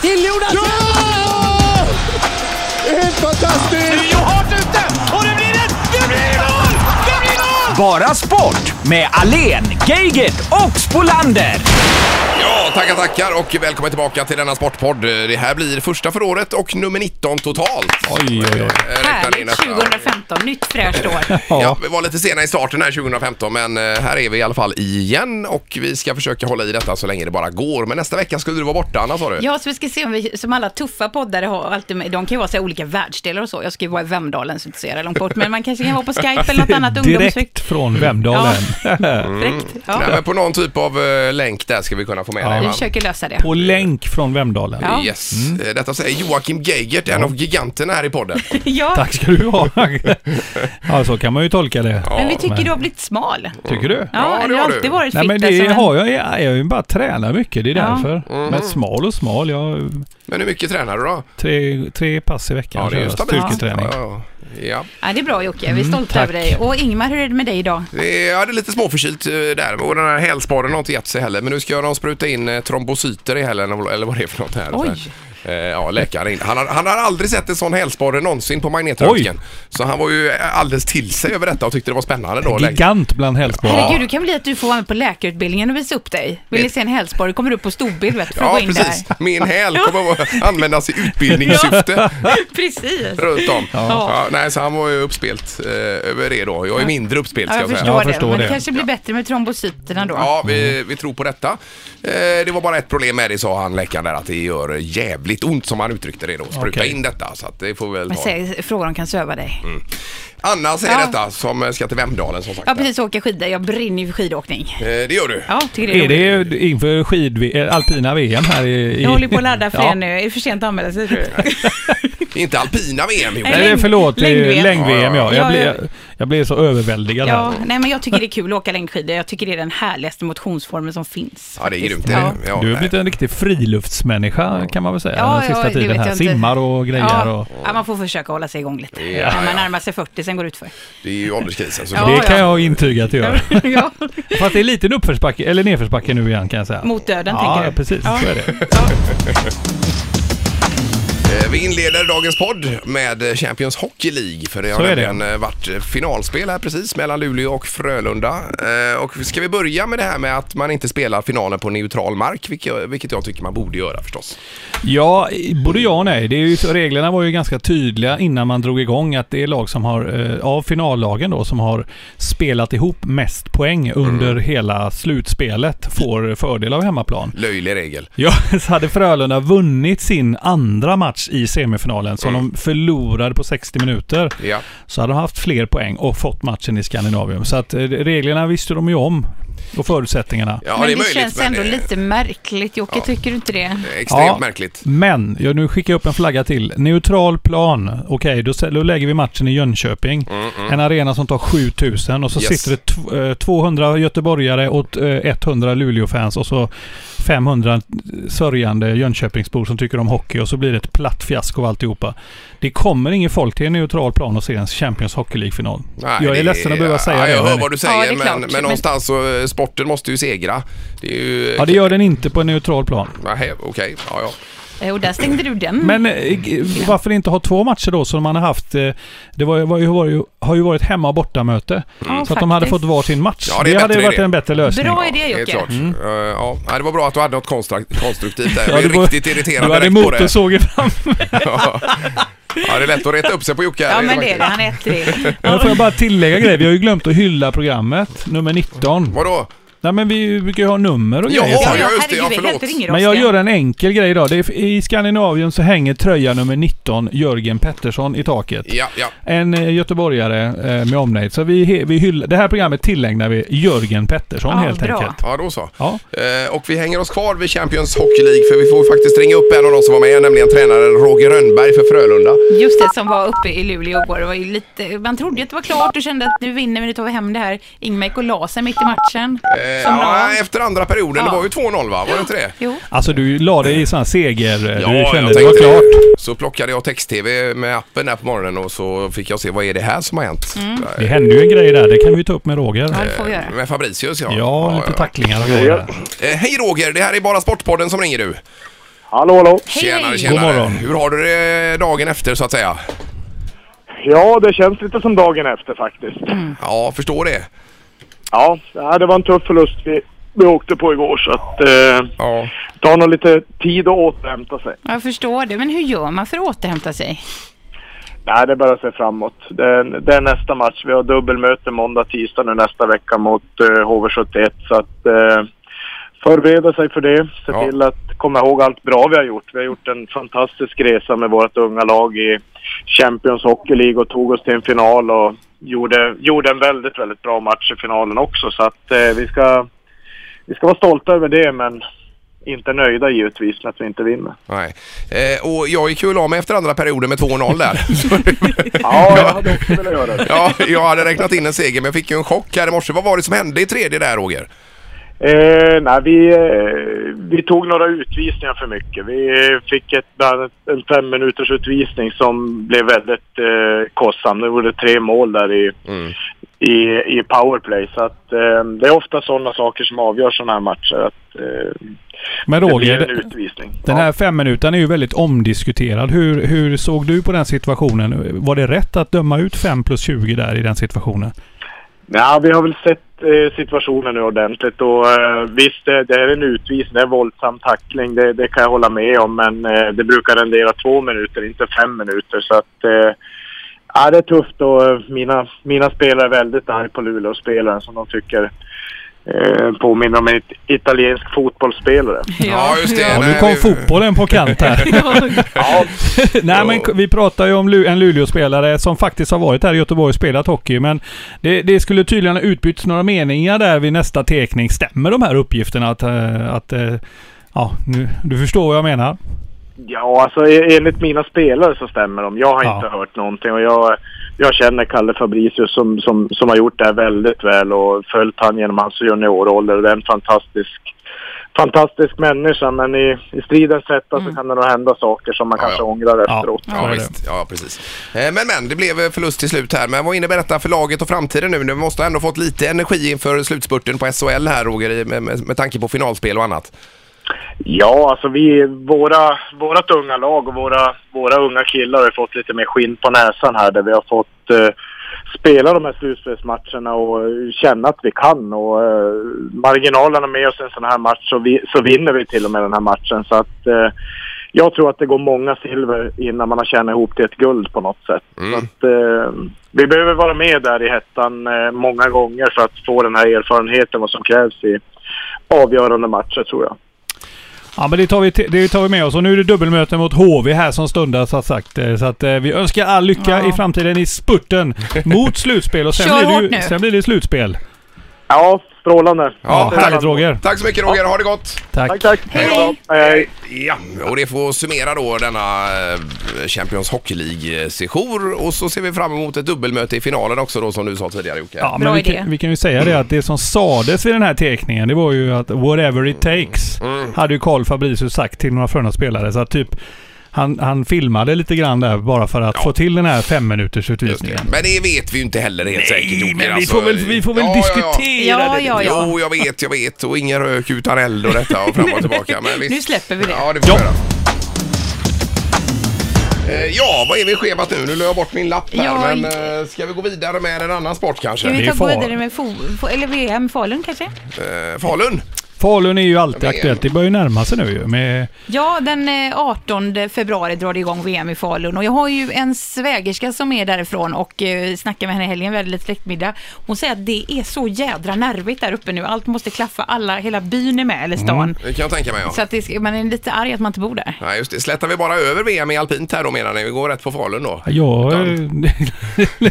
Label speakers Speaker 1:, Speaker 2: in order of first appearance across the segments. Speaker 1: till Jonas!
Speaker 2: Ja! Det är Helt fantastiskt!
Speaker 3: Rio hårt ute! Och det blir ett... Det blir mål! Det blir mål!
Speaker 4: Bara sport med Alen, Geigert och Spolander.
Speaker 5: Ja, tackar, tackar och välkommen tillbaka till denna sportpodd. Det här blir första för året och nummer 19 totalt.
Speaker 2: Oj, oj, oj.
Speaker 5: Eh, räknar
Speaker 6: Härligt
Speaker 5: in nästa.
Speaker 6: 2015, nytt fräscht år.
Speaker 5: Ja, vi var lite sena i starten här 2015 men eh, här är vi i alla fall igen och vi ska försöka hålla i detta så länge det bara går. Men nästa vecka skulle du vara borta Anna sa du?
Speaker 6: Ja, så vi ska se om vi, som alla tuffa poddare har, alltid, med- de kan ju vara så här olika världsdelar och så. Jag ska ju vara i Vemdalen, så inte så jävla långt bort, men man kanske kan vara på Skype eller något annat
Speaker 1: Direkt
Speaker 6: ungdomsvik.
Speaker 1: från Vemdalen.
Speaker 5: Mm.
Speaker 6: Direkt.
Speaker 5: Nej,
Speaker 6: Ja,
Speaker 5: men på någon typ av eh, länk där ska vi kunna få med dig.
Speaker 6: vi
Speaker 5: va?
Speaker 6: försöker lösa det.
Speaker 1: På länk från Vemdalen.
Speaker 6: Ja.
Speaker 5: Yes. Eh, Detta säger Joakim Geigert, en av giganterna här i podden.
Speaker 6: Ja,
Speaker 1: Tack ska du ha. Ja, så kan man ju tolka det.
Speaker 6: men vi tycker
Speaker 1: men-
Speaker 6: du har blivit smal.
Speaker 1: Tycker du?
Speaker 5: Ja,
Speaker 6: Ja,
Speaker 5: det
Speaker 6: eller
Speaker 5: har
Speaker 6: alltid
Speaker 5: du.
Speaker 6: varit
Speaker 1: Nej
Speaker 6: fitt
Speaker 1: men
Speaker 6: alltså,
Speaker 1: det har jag, jag har ju bara tränat mycket, det är
Speaker 6: Ja.
Speaker 1: därför.
Speaker 5: Mm.
Speaker 1: Men smal och smal, jag
Speaker 5: Men hur mycket tränar du då?
Speaker 1: tre, tre pass i veckan
Speaker 5: Ja, det är ju
Speaker 1: kör jag
Speaker 5: stabilt.
Speaker 1: styrketräning.
Speaker 5: Ja, ja. ja.
Speaker 6: Ja, det är bra Jocke, vi är stolta
Speaker 1: Mm, tack.
Speaker 6: över dig. Och Ingmar, hur är det med dig idag?
Speaker 5: Det är, ja, det är lite småförkylt eh, där och den här hälsporren har inte gett sig heller. Men nu ska de spruta in eh, trombocyter i helgen eller vad det är för något här.
Speaker 6: Oj.
Speaker 5: Eh, Ja, läkare in. Han har, han har aldrig sett en sån hälsporre någonsin på magnetröntgen. Så han var ju eh, alldeles till sig över detta och tyckte det var spännande då. Läkaren.
Speaker 1: Gigant bland hälsporrar.
Speaker 6: Herregud, det kan bli att du får vara med på läkarutbildningen och visa upp dig. Vill ni se en hälsporre? Kommer upp på storbild vet du, för att
Speaker 5: Ja,
Speaker 6: gå in
Speaker 5: precis.
Speaker 6: där.
Speaker 5: Min häl kommer att användas i utbildningssyfte
Speaker 6: Precis.
Speaker 5: runt om. Ja. nej, så han var ju uppspelt eh, över det då. Jag är mindre uppspelt
Speaker 6: Ja,
Speaker 5: ska
Speaker 6: jag
Speaker 5: jag säga.
Speaker 6: förstår,
Speaker 1: Jag
Speaker 6: det.
Speaker 1: förstår
Speaker 6: men
Speaker 1: det.
Speaker 6: det kanske blir bättre med trombocyterna då.
Speaker 5: Ja, vi,
Speaker 1: Mm.
Speaker 5: vi tror på detta. Eh, det var bara ett problem med det sa han läkaren där att det gör jävligt ont som han uttryckte det då. Spruta
Speaker 1: Okej.
Speaker 5: in detta så att det får vi väl
Speaker 6: Men
Speaker 5: ta.
Speaker 6: säg, fråga om kan söva dig.
Speaker 5: Anna säger
Speaker 6: Ja.
Speaker 5: detta som ska till Vemdalen som sagt.
Speaker 6: Ja, precis. Åka skidor. Jag brinner ju för skidåkning.
Speaker 5: Eh, det gör du.
Speaker 6: Ja, tycker det är,
Speaker 1: Är
Speaker 6: roligt.
Speaker 1: det inför skid, eh, alpina VM här i... i-
Speaker 6: Jag håller på att ladda för
Speaker 1: Ja.
Speaker 6: det nu. Är det för sent att anmäla sig tror du?
Speaker 5: Inte alpina VM Jonas.
Speaker 6: Nej,
Speaker 1: Nej,
Speaker 6: längd-
Speaker 1: förlåt, det är ju
Speaker 6: längd-VM.
Speaker 1: längd-VM ja. Jag
Speaker 6: Ja,
Speaker 1: blir,
Speaker 6: ja.
Speaker 1: jag, jag blir så överväldigad
Speaker 6: Ja,
Speaker 1: här.
Speaker 6: nej men jag tycker det är kul att åka längdskidor. Jag tycker det är den härligaste motionsformen som finns.
Speaker 5: Ja, det är
Speaker 6: faktiskt.
Speaker 5: grymt. Det är
Speaker 6: Ja.
Speaker 5: det. Ja,
Speaker 1: Du har
Speaker 5: nej.
Speaker 1: blivit en riktig friluftsmänniska kan man väl säga
Speaker 6: Ja,
Speaker 1: den
Speaker 6: ja,
Speaker 1: sista
Speaker 6: det
Speaker 1: tiden
Speaker 6: vet
Speaker 1: här.
Speaker 6: jag inte.
Speaker 1: Simmar och grejer
Speaker 6: Ja.
Speaker 1: och...
Speaker 6: ja, man får försöka hålla sig igång lite.
Speaker 5: Ja,
Speaker 6: När man
Speaker 5: ja.
Speaker 6: närmar sig 40, sen går det utför.
Speaker 5: Det är ju ålderskrisen. Så
Speaker 6: Ja,
Speaker 1: Det kan jag intyga att jag gör.
Speaker 6: ja.
Speaker 1: Fast det är lite en uppförsbacke, eller nedförsbacke nu igen kan jag säga.
Speaker 6: Mot döden,
Speaker 1: ja,
Speaker 6: tänker du?
Speaker 1: Ja, precis.
Speaker 6: Ja.
Speaker 1: Så är det.
Speaker 5: Eh, Vi inleder dagens podd med Champions Hockey League. För det har
Speaker 1: Så är det.
Speaker 5: nämligen eh, varit finalspel här precis mellan Luleå och Frölunda. Eh, Och ska vi börja med det här med att man inte spelar finalen på neutral mark, vilket- vilket jag tycker man borde göra förstås.
Speaker 1: Ja, både ja och nej. Det är ju, reglerna var ju ganska tydliga innan man drog igång att det är lag som har, eh, av finallagen då, som har spelat ihop mest poäng under
Speaker 6: Mm.
Speaker 1: hela slutspelet får fördel av hemmaplan.
Speaker 5: Löjlig regel.
Speaker 1: Ja, så hade Frölunda vunnit sin andra match i semifinalen som de förlorade på 60 minuter.
Speaker 5: Ja.
Speaker 1: Så hade de haft fler poäng och fått matchen i Skandinavium. Så att eh, reglerna visste de ju om. Och förutsättningarna.
Speaker 5: Ja,
Speaker 6: men
Speaker 5: det
Speaker 6: det,
Speaker 5: är möjligt.
Speaker 6: känns ändå
Speaker 5: men, eh,
Speaker 6: lite märkligt, Jocke. Tycker du inte det?
Speaker 5: Extremt
Speaker 1: Ja.
Speaker 5: märkligt.
Speaker 1: Men, jag nu skickar jag upp en flagga till. Neutral plan. Okej, då, sä- då lägger vi matchen i Jönköping. En arena som tar 7000 och så
Speaker 5: Mm, Yes.
Speaker 1: sitter det tw- eh, 200 göteborgare och eh, 100 Luleåfans och så 500 sörjande Jönköpingsbor som tycker om hockey och så blir det ett platt fiasko av alltihopa. Det kommer ingen folk till en neutral plan och ser en Champions Hockey League-final.
Speaker 5: Nej,
Speaker 1: Jag
Speaker 5: det
Speaker 1: är ledsen att behöva säga
Speaker 5: ja,
Speaker 1: det.
Speaker 5: Jag hör
Speaker 1: men-
Speaker 5: vad du
Speaker 6: Ja,
Speaker 5: säger,
Speaker 6: det är klart,
Speaker 5: men, men
Speaker 6: men-
Speaker 5: någonstans så, eh, sporten måste ju segra. Det är ju...
Speaker 1: Ja, det gör den inte på en neutral plan.
Speaker 5: Nej, okej. Ja, ja.
Speaker 6: Eh, Och där stängde du den.
Speaker 1: Men eh, g- varför inte ha två matcher då som man har haft? eh, Det var, var, ju- var, ju- har ju varit hemma och bortamöte. så
Speaker 6: Ja,
Speaker 1: att de hade
Speaker 6: faktiskt.
Speaker 1: fått varsin match.
Speaker 5: Mm. Ja, det
Speaker 1: det
Speaker 5: är
Speaker 1: hade
Speaker 5: bättre
Speaker 1: ju varit
Speaker 5: idé.
Speaker 1: en bättre lösning.
Speaker 6: Bra idé,
Speaker 5: Helt
Speaker 6: Jocke.
Speaker 5: klart. Eh, ja. Nej, det var bra att du hade något konstrakt- konstruktivt där. Jag
Speaker 1: Mm. Ja,
Speaker 5: blev
Speaker 1: det var-
Speaker 5: riktigt irriterad
Speaker 1: Du hade
Speaker 5: direkt på det.
Speaker 1: motorsågen fram.
Speaker 5: ja, det är lätt att reta upp sig på Jocke. här,
Speaker 6: Ja, men det är
Speaker 5: faktiskt.
Speaker 6: det. Han är ett till.
Speaker 1: Men då får jag bara tillägga en grej. Vi har ju glömt att hylla programmet, nummer 19.
Speaker 5: Vadå?
Speaker 1: Nej men vi brukar ju ha nummer och
Speaker 5: Jaha,
Speaker 1: grejer. så här.
Speaker 5: ja, just det. Ja,
Speaker 6: herregud,
Speaker 5: förlåt.
Speaker 6: helt ringer
Speaker 1: Men jag
Speaker 6: Oscar.
Speaker 1: gör en enkel grej idag. Det är, I Skandinavien så hänger tröja nummer 19, Jörgen Pettersson, i taket.
Speaker 5: Ja, ja.
Speaker 1: En eh, göteborgare eh, med omnejd. Så vi, he- vi hyll, det här programmet tillägnar vi Jörgen Pettersson
Speaker 6: Ja,
Speaker 1: helt
Speaker 6: bra.
Speaker 1: enkelt.
Speaker 5: Ja, då så.
Speaker 1: Ja.
Speaker 5: Eh, och vi hänger oss kvar vid Champions Hockey League för vi får faktiskt ringa upp en av de som var med, nämligen tränaren Roger Rönnberg för Frölunda.
Speaker 6: Just det, som var uppe i Luleå igår. Det var ju lite, man trodde ju att det var klart och kände att nu vinner vi, nu tar vi hem det här. Ingmar gick och la sig mitt i matchen.
Speaker 5: Eh,
Speaker 6: Som
Speaker 5: ja,
Speaker 6: la.
Speaker 5: efter andra perioden, det
Speaker 6: Ja.
Speaker 5: var ju 2-0 va? Var det inte det?
Speaker 6: Jo.
Speaker 1: Alltså du la dig i sån här seger... eh,
Speaker 5: Ja,
Speaker 1: du
Speaker 5: jag
Speaker 1: kände
Speaker 5: tänkte
Speaker 1: det var klart.
Speaker 5: Så plockade jag text-tv med appen där på morgonen och så fick jag se vad är det här som har hänt?
Speaker 6: Mm.
Speaker 5: Eh,
Speaker 1: Det hände ju en grej där, det kan vi ta upp med Roger.
Speaker 6: Ja, det får vi göra.
Speaker 5: Med Fabricius ja.
Speaker 1: Ja, lite
Speaker 5: ja.
Speaker 1: tacklingar och grejer.
Speaker 5: Eh, hej Roger, det här är bara Sportpodden som ringer du.
Speaker 7: Hallå, hallå.
Speaker 5: Tjenare,
Speaker 6: hej.
Speaker 5: tjenare.
Speaker 1: God morgon.
Speaker 5: Hur har du det dagen efter så att säga?
Speaker 7: Ja, det känns lite som dagen efter faktiskt.
Speaker 5: Ja, förstår det.
Speaker 7: Ja, det här- det var en tuff förlust vi, vi åkte på igår så att eh,
Speaker 5: Ja.
Speaker 7: det tar nog lite tid att återhämta sig.
Speaker 6: Jag förstår det, men hur gör man för att återhämta sig?
Speaker 7: Nej, det är bara att se framåt. Det är, det är nästa match. Vi har dubbelmöte måndag, tisdag nu nästa vecka mot eh, HV71 så att eh, förbereda sig för det. Se
Speaker 5: Ja.
Speaker 7: till att komma ihåg allt bra vi har gjort. Vi har gjort en fantastisk resa med vårt unga lag i Champions Hockey League och tog oss till en final och gjorde, gjorde en väldigt, väldigt bra match i finalen också så att eh, vi ska, vi ska vara stolta över det men inte nöjda givetvis med att vi inte vinner.
Speaker 5: Nej. Eh, och jag gick ju och la mig efter andra perioden med 2-0 där.
Speaker 7: Ja, jag hade också velat göra det.
Speaker 5: ja, jag hade räknat in en seger men jag fick ju en chock här i morse. Vad var det som hände i tredje där Roger?
Speaker 7: Eh, nej, vi, eh, vi tog några utvisningar för mycket. Vi eh, fick ett, bland annat en fem minuters utvisning som blev väldigt eh, kostsam. Det gjorde tre mål där i, i, i powerplay. Så att, eh, det är ofta sådana saker som avgör sådana här matcher. Att, eh,
Speaker 1: Men
Speaker 7: det blir en
Speaker 1: Roger,
Speaker 7: utvisning.
Speaker 1: den här fem minuten är ju väldigt omdiskuterad. Hur, hur såg du på den situationen? Var det rätt att döma ut 5 plus 20 där i den situationen?
Speaker 7: Ja, vi har väl sett eh, situationen nu ordentligt och eh, visst, det, det är en utvisning, det är en våldsam tackling, det, det kan jag hålla med om, men eh, det brukar rendera två minuter, inte fem minuter, så att eh, ja, det är tufft och eh, mina, mina spelare är väldigt arga på Luleå-spelaren som de tycker eh, påminner om en it- italiensk fotbollsspelare.
Speaker 5: Ja, just det.
Speaker 1: Ja,
Speaker 5: Nej,
Speaker 1: nu kom
Speaker 5: vi-
Speaker 1: fotbollen på kant här.
Speaker 7: Ja,
Speaker 1: Nej, men k- vi pratar ju om Lu- en Luleå-spelare som faktiskt har varit här i Göteborg och spelat hockey. Men det, det skulle tydligen ha utbytts några meningar där vid nästa tekning. Stämmer de här uppgifterna att... eh, att eh, ja, nu, du förstår vad jag menar.
Speaker 7: Ja, alltså e- enligt mina spelare så stämmer de. Jag har
Speaker 1: Ja.
Speaker 7: inte hört någonting och jag, jag känner Kalle Fabricius som, som, som har gjort det här väldigt väl och följt han genom hans juniorålder. Det är en fantastisk, fantastisk människa men i, i stridens hetta så kan det nog hända saker som man
Speaker 5: Ja,
Speaker 7: kanske
Speaker 5: ja.
Speaker 7: ångrar efteråt.
Speaker 5: Ja, visst. ja, precis. Eh, Men, men, det blev eh, förlust till slut här. Men vad innebär detta för laget och framtiden nu? Du måste ha ändå fått lite energi inför slutspurten på SHL här, Roger, i- med, med, med tanke på finalspel och annat.
Speaker 7: Ja, alltså vi, våra, vårat unga lag och våra, våra unga killar har fått lite mer skinn på näsan här där vi har fått eh, spela de här slutspelsmatcherna och eh, känna att vi kan och eh, marginalerna med oss i en sån här match så, vi, så vinner vi till och med den här matchen så att eh, jag tror att det går många silver innan man har tjänat ihop till ett guld på något sätt. Så att, eh, vi behöver vara med där i hettan eh, många gånger för att få den här erfarenheten vad som krävs i avgörande matcher tror jag.
Speaker 1: Ja, men det tar, vi t- det tar vi med oss. Och nu är det dubbelmöte mot HV här som stundar, så att sagt. Eh, Så att eh, vi önskar all lycka
Speaker 6: Ja.
Speaker 1: i framtiden i spurten mot slutspel. Och sen,
Speaker 6: Kör
Speaker 1: blir
Speaker 6: hårt
Speaker 1: det,
Speaker 6: nu.
Speaker 1: ju- sen blir det slutspel.
Speaker 7: Ja, strålande.
Speaker 1: Ja,
Speaker 7: Strålande.
Speaker 1: härligt Roger.
Speaker 5: Tack så mycket, Roger. Ha det gott!
Speaker 1: Tack.
Speaker 7: Tack, tack.
Speaker 6: Hej. Hej då.
Speaker 7: Hej, hej.
Speaker 5: Ja, och det får summera då denna eh, Champions Hockey League-sejour. Och så ser vi fram emot ett dubbelmöte i finalen också då, som du sa tidigare Jocke.
Speaker 1: Ja,
Speaker 6: Bra
Speaker 1: men vi
Speaker 6: idé.
Speaker 1: kan, vi kan ju säga det att det som sades vid den här teckningen, det var ju att whatever it takes,
Speaker 5: Mm.
Speaker 1: hade ju Carl Fabricius sagt till några förna spelare. Så att typ, han, han filmade lite grann där bara för att få till den här
Speaker 5: Just det.
Speaker 1: femminutersutvisningen.
Speaker 5: Men det vet vi ju inte heller helt säkert Jocke.
Speaker 1: men vi
Speaker 5: alltså.
Speaker 1: får väl, vi får väl
Speaker 5: Ja, ja, ja.
Speaker 1: diskutera
Speaker 6: Ja,
Speaker 1: det lite.
Speaker 6: ja, ja.
Speaker 5: Jo, jag vet, jag vet. Och ingen rök utan eld och detta och fram och tillbaka. Men visst.
Speaker 6: Nu släpper vi det.
Speaker 5: Ja, det får
Speaker 1: Ja.
Speaker 5: vi göra. Eh, Ja, vad är vi i schemat nu? Nu la jag bort min lapp här,
Speaker 6: Ja,
Speaker 5: men eh, ska vi gå vidare med en annan sport kanske?
Speaker 6: Ska vi
Speaker 1: det är
Speaker 6: ta gå
Speaker 1: far-
Speaker 6: vidare med fo- fo- eller VM Falun kanske?
Speaker 5: Eh, Falun?
Speaker 1: Falun är ju alltid
Speaker 5: Men-
Speaker 1: aktuellt. Det börjar ju närma sig nu ju. Med,
Speaker 6: Ja, den eh, 18 februari drar det igång VM i Falun och jag har ju en svägerska som är därifrån och eh, snackade med henne i helgen, vi hade lite släktmiddag. Hon säger att det är så jädra nervigt där uppe nu, allt måste klaffa, alla, hela byn är med, eller stan.
Speaker 1: Mm.
Speaker 5: Det kan jag tänka mig,
Speaker 6: Så
Speaker 5: ja.
Speaker 6: att det, ska- man är lite arg att man inte bor där.
Speaker 5: Nej, just det. Slätar vi bara över VM i alpint här då menar ni? Vi går rätt på Falun då?
Speaker 1: ja,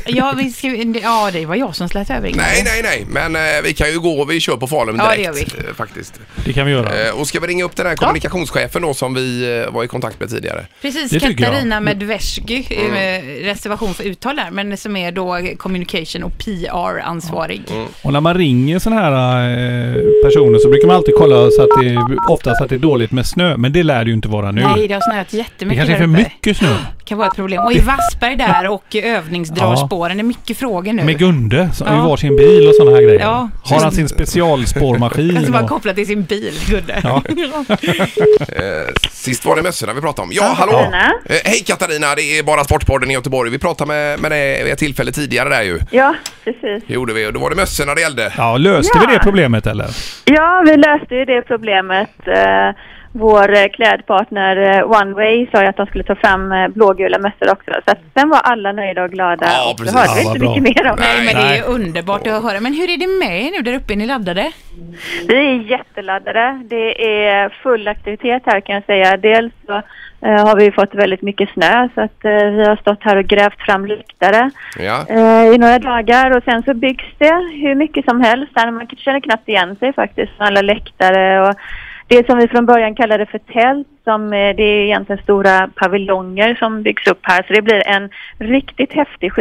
Speaker 6: Ja, vi ska, ja det var jag som slät över Ingmar.
Speaker 5: Nej, nej, nej, men eh, vi kan ju gå och vi kör på Falun
Speaker 6: Ja,
Speaker 5: direkt.
Speaker 6: det
Speaker 5: eh, faktiskt.
Speaker 1: det kan vi göra.
Speaker 5: Eh, Och ska vi ringa upp den här kommunikationschefen då som vi eh, var i kontakt med tidigare?
Speaker 6: Precis,
Speaker 1: Det tycker jag.
Speaker 6: Katarina Medvesky, mm. reservation för uttal där, men som är då communication och PR-ansvarig.
Speaker 1: Och när man ringer sådana här eh, personer så brukar man alltid kolla så att det oftast att det är dåligt med snö. Men det lär det ju inte vara nu.
Speaker 6: Nej, det har snöat
Speaker 1: Mm. det
Speaker 6: jättemycket
Speaker 1: kanske är
Speaker 6: där
Speaker 1: för
Speaker 6: uppe.
Speaker 1: mycket snö.
Speaker 6: kan vara ett problem. Och i Vassberg där och i övningsdragspåren, det är mycket frågor nu.
Speaker 1: Med Gunde som- i
Speaker 6: Eh, Ja.
Speaker 1: varsin bil och sådana här grejer.
Speaker 6: Ja.
Speaker 1: Har han sin specialspårmaskin?
Speaker 6: Alltså bara
Speaker 1: och-
Speaker 6: kopplat till sin bil, Gudde.
Speaker 1: Ja.
Speaker 5: Eh, Sist var det mössorna vi pratade om. Ja, hallå!
Speaker 8: Katarina.
Speaker 5: Eh, Hej Katarina, det är bara Sportpodden i Göteborg. Vi pratade med, med dig vid ett tillfälle tidigare där ju.
Speaker 8: Ja, precis.
Speaker 5: Det gjorde vi och då var det mössorna det gällde.
Speaker 1: Ja, löste vi
Speaker 8: Ja.
Speaker 1: det problemet eller?
Speaker 8: Ja, vi löste ju det problemet. Eh, Vår eh, klädpartner eh, Oneway sa ju att de skulle ta fram eh, blågula mössor också. Så att sen var alla nöjda och glada.
Speaker 5: Ja,
Speaker 8: och då
Speaker 5: precis.
Speaker 8: hörde
Speaker 1: Ja,
Speaker 8: vi
Speaker 1: vad
Speaker 8: inte
Speaker 1: bra.
Speaker 8: mycket mer om
Speaker 6: Nej,
Speaker 8: det.
Speaker 6: men det är ju
Speaker 1: Nej.
Speaker 6: underbart att höra. Men hur är det med er nu där uppe? Är ni laddade?
Speaker 8: Vi är jätteladdade. Det är full aktivitet här kan jag säga. Dels så eh, har vi fått väldigt mycket snö så att eh, vi har stått här och grävt fram lyktare
Speaker 5: Ja.
Speaker 8: eh, i några dagar och sen så byggs det hur mycket som helst. Där man känner knappt igen sig faktiskt. Alla läktare och det som vi från början kallade för tält som eh, det är egentligen stora paviljonger som byggs upp här så det blir en riktigt häftig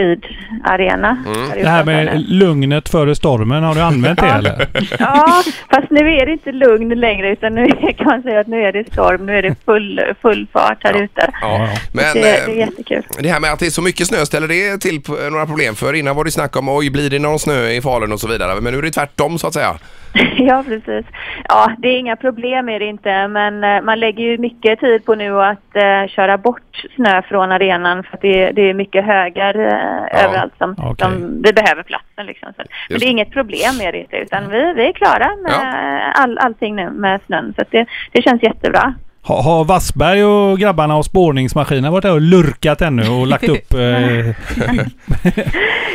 Speaker 8: skidarena.
Speaker 5: Mm.
Speaker 8: här
Speaker 1: Det här
Speaker 8: utanför nu.
Speaker 1: med lugnet före stormen, har du använt det eller?
Speaker 8: Ja, fast nu är det inte lugn längre utan nu är- kan man säga att nu är det storm, nu är det full, full fart här ute.
Speaker 5: Ja. Men
Speaker 8: det, det är
Speaker 5: eh,
Speaker 8: jättekul.
Speaker 5: det här med att det är så mycket snö, ställer det till p- några problem? För innan var det snack om oj, blir det någon snö i Falun och så vidare. Men nu är det tvärtom så att säga.
Speaker 8: Ja, precis. Ja, det är inga problem är det inte, men eh, man lägger ju mycket tid på nu att eh, köra bort snö från arenan för att det, det är mycket högar eh,
Speaker 5: Ja,
Speaker 8: överallt som,
Speaker 1: okej.
Speaker 8: som vi behöver platsen liksom. Så, men
Speaker 5: Just
Speaker 8: det är
Speaker 5: det.
Speaker 8: inget problem är det inte, utan vi, vi är klara med
Speaker 5: Ja.
Speaker 8: all, allting nu med snön så att det, det känns jättebra.
Speaker 1: Har, har Wassberg och grabbarna och spårningsmaskinen varit där och lurkat ännu och lagt upp... Eh,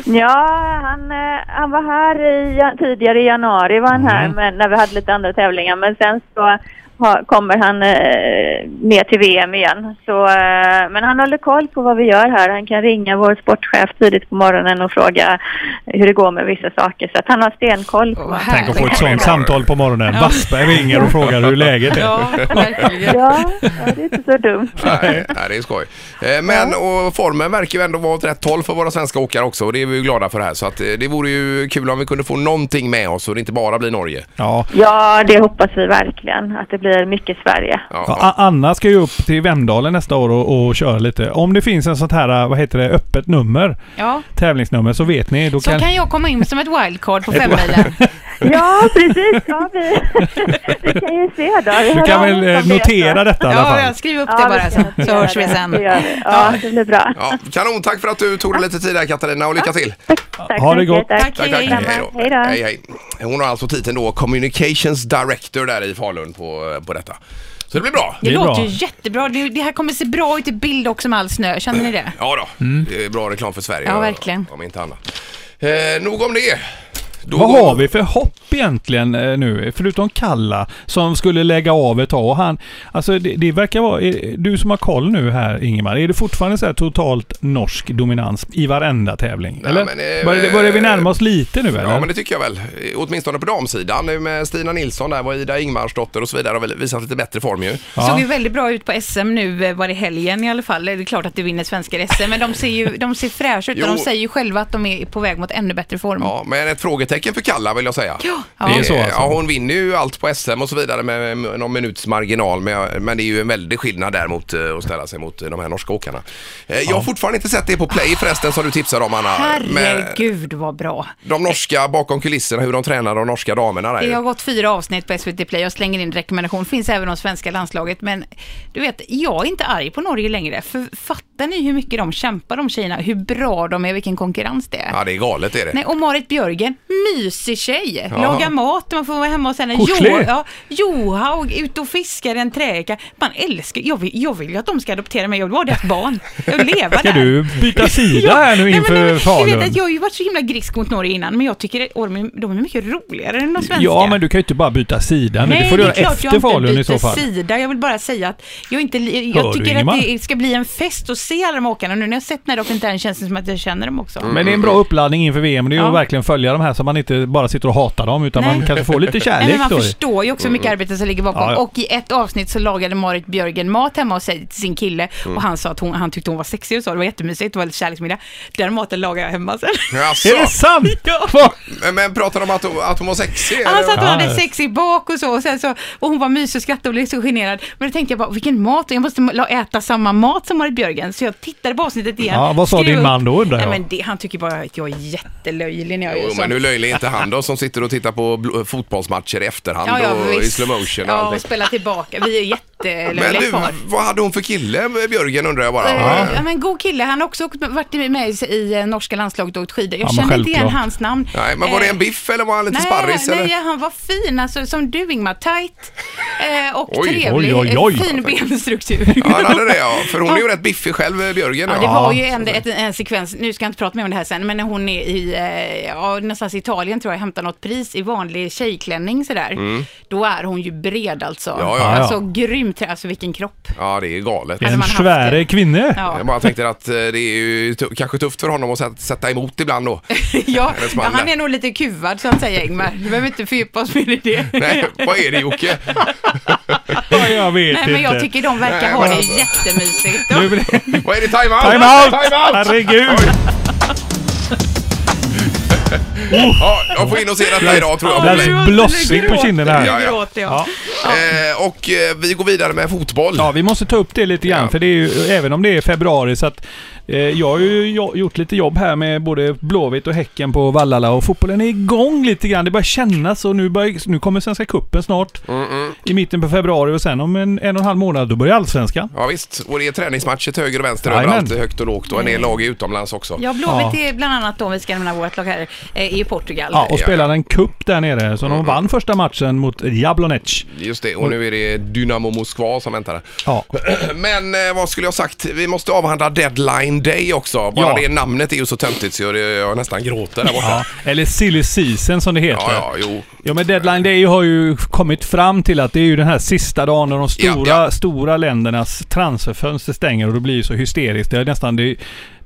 Speaker 8: Ja, han, eh, han var här i, ja- tidigare i januari var han här
Speaker 1: Mm.
Speaker 8: men, när vi hade lite andra tävlingar. Men sen så ha, kommer han eh, med till VM igen. Så, eh, men han håller koll på vad vi gör här. Han kan ringa vår sportchef tidigt på morgonen och fråga hur det går med vissa saker. Så att han har stenkoll på
Speaker 6: Åh,
Speaker 8: vad
Speaker 1: tänk att få ett
Speaker 6: härligt.
Speaker 1: sånt samtal på morgonen. Wassberg ringer och frågar hur läget är.
Speaker 6: Ja, verkligen.
Speaker 8: Ja, ja, det är inte så dumt.
Speaker 5: Nej, nej, det är skoj. Eh, Men och formen verkar ju ändå vara åt rätt håll för våra svenska åkare också och det är vi ju glada för här. Så att eh, det vore ju kul om vi kunde få någonting med oss och det inte bara blir Norge.
Speaker 1: Ja.
Speaker 8: Ja, det hoppas vi verkligen. Att det blir mycket Sverige.
Speaker 5: Ja,
Speaker 1: Ja, A- Anna ska ju upp till Vemdalen nästa år och, och köra lite. Om det finns en sånt här, vad heter det, öppet nummer,
Speaker 6: Ja.
Speaker 1: tävlingsnummer, så vet ni. Då
Speaker 6: Så
Speaker 1: kan,
Speaker 6: kan jag komma in som ett wildcard på femmilen.
Speaker 8: Ja, precis. Ja, vi, vi kan ju se då. Vi
Speaker 1: du
Speaker 8: har
Speaker 1: kan
Speaker 8: alla
Speaker 1: väl eh,
Speaker 8: som vet då.
Speaker 1: notera detta i alla
Speaker 6: Ja,
Speaker 1: fall.
Speaker 6: jag skriver upp
Speaker 8: Ja,
Speaker 6: det
Speaker 8: vi
Speaker 6: bara
Speaker 8: ska
Speaker 6: så,
Speaker 8: göra
Speaker 6: så hörs
Speaker 8: det.
Speaker 6: vi sen.
Speaker 8: Det gör vi. Ja, det blir bra.
Speaker 5: Ja, kanon, tack för att du tog dig lite tid här Katarina och lycka till!
Speaker 8: Tack
Speaker 1: Ha
Speaker 8: så
Speaker 1: det
Speaker 8: mycket.
Speaker 1: gott.
Speaker 6: Tack,
Speaker 5: Tack, tack.
Speaker 6: hej.
Speaker 8: Hej då.
Speaker 5: Hej, hej. Hon har alltså titeln då Communications Director där i Falun på, på detta. Så det blir bra.
Speaker 6: Det,
Speaker 1: Det är
Speaker 6: låter
Speaker 1: bra.
Speaker 6: ju jättebra. Det, det här kommer se bra ut i bild också med all snö. Känner ni det?
Speaker 5: Ja då, det är bra reklam för Sverige.
Speaker 6: Ja, verkligen.
Speaker 5: Om inte annat. Eh, nog om det. Då
Speaker 1: Vad
Speaker 5: går-
Speaker 1: har vi för hopp egentligen eh, nu? Förutom Kalla som skulle lägga av ett tag. Och han, alltså det, det verkar vara... eh, Du som har koll nu här Ingemar, är det fortfarande så här totalt norsk dominans i varenda tävling?
Speaker 5: Nej,
Speaker 1: eller?
Speaker 5: men, eh,
Speaker 1: börjar, det- börjar vi närma oss lite nu eller?
Speaker 5: Ja, men det tycker jag väl. Eh, Åtminstone på damsidan eh, med Stina Nilsson där, var Ida Ingmarsdotter och så vidare har väl visat lite bättre form ju.
Speaker 1: Ja.
Speaker 6: Såg ju väldigt bra ut på SM nu, eh, var det helgen i alla fall. Det är klart att det vinner svenskar SM, men de ser ju de ser fräscha ut och
Speaker 5: Jo.
Speaker 6: de säger ju själva att de är på väg mot ännu bättre form.
Speaker 5: Ja, men ett frågetecken för Kalla vill jag säga. Ja,
Speaker 1: Det är så alltså.
Speaker 5: ja, hon vinner ju allt på SM och så vidare med med någon minuts marginal. Men, jag- men det är ju en väldig skillnad däremot eh, att ställa sig mot eh, de här norska åkarna. Eh, Jag har fortfarande inte sett det på play förresten som du tipsade om Anna. Med
Speaker 6: Herregud vad bra.
Speaker 5: de norska bakom kulisserna, hur de tränar de norska damerna där
Speaker 6: Det har
Speaker 5: ju.
Speaker 6: gått fyra avsnitt på SVT Play. Jag slänger in rekommendation. Finns även om svenska landslaget. Men du vet, jag är inte arg på Norge längre. För fattar ni hur mycket de kämpar de tjejerna? Hur bra de är, vilken konkurrens det är.
Speaker 5: Ja, det är galet är det.
Speaker 6: Nej, och Marit Björgen, mysig tjej.
Speaker 5: Ja.
Speaker 6: Lagar mat, man får vara hemma och sen
Speaker 1: Skicklig.
Speaker 6: jo, ja, Johaug, ut och fiskar en träka. Man älskar, jag vill, jag vill ju att de ska adoptera mig, jag vill vara deras barn. Jag vill leva
Speaker 1: Ska
Speaker 6: där.
Speaker 1: du byta sida här nu inför
Speaker 6: nej, men, nej, men, du
Speaker 1: Falun?
Speaker 6: vet att Jag har ju varit så himla grisk mot Norge innan, men jag tycker att Ormen, de är mycket roligare än de svenska.
Speaker 1: Ja, men du kan ju inte bara byta sida nu.
Speaker 6: Nej,
Speaker 1: det får du göra
Speaker 6: är klart
Speaker 1: efter
Speaker 6: jag
Speaker 1: Falun
Speaker 6: inte
Speaker 1: i så
Speaker 6: byter
Speaker 1: fall.
Speaker 6: sida. Jag vill bara säga att jag, inte, li-
Speaker 1: Hör
Speaker 6: jag
Speaker 1: du,
Speaker 6: tycker att
Speaker 1: Ingemar?
Speaker 6: det ska bli en fest att se alla de här åkarna. Nu när jag sett när de inte än känns det som att jag känner dem också.
Speaker 1: Men det är en bra uppladdning inför VM. och Det är ju
Speaker 6: Ja.
Speaker 1: att verkligen följa de här så man inte bara sitter och hatar dem utan
Speaker 6: Nej.
Speaker 1: man kanske får lite
Speaker 6: Nej,
Speaker 1: kärlek
Speaker 6: men man
Speaker 1: då.
Speaker 6: förstår ju också hur mycket arbete som ligger bakom.
Speaker 1: Mm. Ja, ja.
Speaker 6: Och i ett avsnitt så lagade Marit Björgen mat hemma och sig till sin kille
Speaker 1: Mm.
Speaker 6: och han sa att hon, han tyckte hon var sexig och så. Det var jättemysigt, det var lite kärleksmiddag. Den maten lagade jag hemma sen.
Speaker 5: Jaså?
Speaker 1: Är det sant?
Speaker 6: Ja.
Speaker 5: Men- Men pratar de om att, hon- att hon var sexig?
Speaker 6: Han
Speaker 5: eller?
Speaker 6: sa att hon
Speaker 1: Ja,
Speaker 6: hade
Speaker 1: ja.
Speaker 6: sex i bak och så och, sen så, och hon var mysig och skrattade och blev så generad. Men då tänkte jag bara, vilken mat, jag måste la- äta samma mat som Marit Björgen. Så jag tittade på avsnittet igen.
Speaker 1: Ja, vad sa
Speaker 6: skrev
Speaker 1: din
Speaker 6: upp-
Speaker 1: man då, undrar
Speaker 6: Nej,
Speaker 1: jag?
Speaker 6: men det, Han tycker bara att jag är jättelöjlig när jag
Speaker 5: Jo,
Speaker 6: gör
Speaker 5: men hur möjlig inte han då som sitter och tittar på bl- fotbollsmatcher i efterhand
Speaker 6: Ja, ja,
Speaker 5: och i
Speaker 6: visst.
Speaker 5: slow motion och
Speaker 6: Ja, och
Speaker 5: allting.
Speaker 6: spela tillbaka. Vi är
Speaker 5: Men
Speaker 6: jättelöjliga
Speaker 5: du,
Speaker 6: kvar.
Speaker 5: vad hade hon för kille, Björgen undrar jag bara? Eh,
Speaker 6: Ja. ja men god kille, han har också åkt- varit med i- i eh, norska landslaget och åkt skidor. Jag
Speaker 1: Ja, men
Speaker 6: känner inte igen
Speaker 1: självklart.
Speaker 6: hans namn.
Speaker 5: Nej, men var det
Speaker 6: Eh,
Speaker 5: en biff eller var han lite
Speaker 6: Nej,
Speaker 5: sparris?
Speaker 6: nej,
Speaker 5: eller?
Speaker 6: han var fin, alltså, som du Ingmar, tajt eh, och
Speaker 5: Oj,
Speaker 6: trevlig,
Speaker 1: oj, oj, oj.
Speaker 6: Eh, fin benstruktur.
Speaker 5: Ja, han hade det ja. För hon är ju rätt biffig själv, eh, Björgen.
Speaker 6: Ja, det
Speaker 5: ja.
Speaker 6: var ju en, ett, en sekvens, nu ska jag inte prata mer om det här sen, men när hon är i, eh, ja, någonstans i Italien tror jag, hämtar något pris i vanlig tjejklänning sådär. Då är hon ju bred alltså.
Speaker 5: Mm. Ja, ja.
Speaker 6: Alltså grymt, alltså vilken kropp.
Speaker 5: ja, det är galet.
Speaker 6: Ja, Hade
Speaker 1: En
Speaker 6: Alltså, man haft
Speaker 1: sväre
Speaker 6: det?
Speaker 1: kvinna.
Speaker 5: Jag
Speaker 6: Ja,
Speaker 5: bara tänkte att eh, det är ju tu- kanske tufft för honom att sätta- sätta emot ibland då.
Speaker 6: ja,
Speaker 5: Hennes
Speaker 6: ja
Speaker 5: man
Speaker 6: han
Speaker 5: där.
Speaker 6: är nog lite kuvad så att säga Ingmar. Du behöver inte fördjupa oss mer i det.
Speaker 5: Nej, vad är det Jocke?
Speaker 1: Ja, jag vet
Speaker 6: Nej, men jag
Speaker 1: inte.
Speaker 6: tycker de
Speaker 5: Nej,
Speaker 6: verkar ha
Speaker 5: men
Speaker 6: det
Speaker 5: alltså.
Speaker 6: jättemysigt.
Speaker 1: Nu blir det...
Speaker 5: Vad är det? Time out!
Speaker 1: Time out!
Speaker 5: Time out!
Speaker 1: Herregud!
Speaker 5: Ja, jag får in och se detta idag tror jag.
Speaker 1: Där
Speaker 5: på
Speaker 1: är
Speaker 5: play.
Speaker 1: det blossing på kinden här.
Speaker 5: Ja, ja.
Speaker 6: Nu gråter jag.
Speaker 5: Eh, och eh, vi går vidare med fotboll.
Speaker 1: Ja, vi måste ta upp det lite grann,
Speaker 5: Ja.
Speaker 1: för det är ju, även om det är februari så att eh, jag har ju jo- gjort lite jobb här med både Blåvitt och Häcken på Vallala och fotbollen är igång lite grann. Det börjar kännas och nu, börjar, nu kommer Svenska Cupen snart i mitten på februari och sen om en, en och en halv månad då börjar Allsvenskan.
Speaker 5: Ja, visst, och det är träningsmatcher till höger och vänster
Speaker 1: Jajamän.
Speaker 5: överallt, högt och lågt och en del lag är utomlands också.
Speaker 6: Ja, Blåvitt är bland annat då, vi ska nämna vårt lag här, eh, i Portugal.
Speaker 1: Ja, och spelar en cup där nere,
Speaker 5: Mm,
Speaker 1: så de vann första matchen mot Jablonec.
Speaker 5: Just det, och nu är det Dynamo Moskva som väntar.
Speaker 1: Ja,
Speaker 5: Men eh, vad skulle jag sagt? Vi måste avhandla Deadline Day också. Bara
Speaker 1: Ja.
Speaker 5: det namnet är ju så töntigt så jag, jag nästan gråter där borta.
Speaker 1: ja. Eller Silly Season som det heter.
Speaker 5: Ja, ja, jo.
Speaker 1: Ja men Deadline Day har ju kommit fram till att det är ju den här sista dagen när de stora,
Speaker 5: Ja, ja.
Speaker 1: stora ländernas transferfönster stänger och det blir ju så hysteriskt. Det är nästan, det är,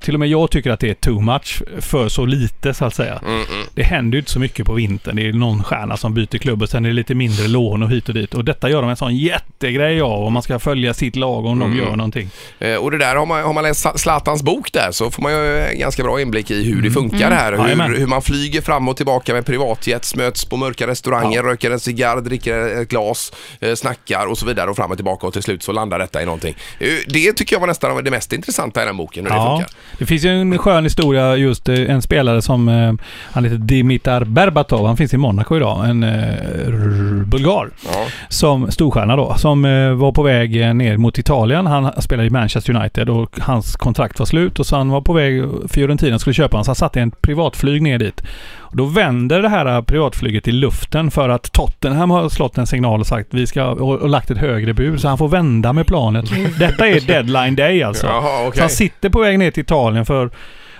Speaker 1: till och med jag tycker att det är too much för så lite så att säga.
Speaker 5: Mm,
Speaker 1: Det händer ju inte så mycket på vintern. Det är någon stjärna som byter klubb och sen är det lite mindre lån och hit och dit. Och detta gör de en sån jättegrej av om man ska följa sitt lag om de gör någonting.
Speaker 5: Eh, Och det där, har man, har man läst Zla- Zlatans bok där så får man ju eh, ganska bra inblick i hur det funkar här. Hur,
Speaker 1: Mm. Jajamän.
Speaker 5: hur man flyger fram och tillbaka med privatjets, möts på mörka restauranger, röker en cigarr, dricker ett glas, eh, snackar och så vidare och fram och tillbaka och till slut så landar detta i någonting. Eh, Det tycker jag var nästan det mest intressanta i den boken, hur det
Speaker 1: Ja,
Speaker 5: funkar.
Speaker 1: det finns ju en skön historia just eh, en spelare som, eh, han heter Dimitar Berbatov, han finns i Monaco idag, en eh, r- bulgar.
Speaker 5: Ja.
Speaker 1: Som storstjärna då, som eh, var på väg eh, ner mot Italien. Han spelade i Manchester United och hans kontrakt var slut och så han var på väg, Fiorentina skulle köpa honom, så han satte en privatflyg ner dit. Och då vänder det här äh, privatflyget i luften för att Tottenham har slått en signal och sagt vi ska, och, och lagt ett högre bud så han får vända med planet. Detta är deadline day alltså.
Speaker 5: Jaha, okej.
Speaker 1: Så han sitter på väg ner till Italien för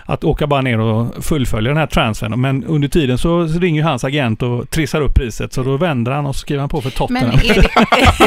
Speaker 1: att åka bara ner och fullfölja den här transfern. Men under tiden så ringer ju hans agent och trissar upp priset. Så då vänder han och skriver han på för
Speaker 6: Men
Speaker 1: Tottenham.
Speaker 6: är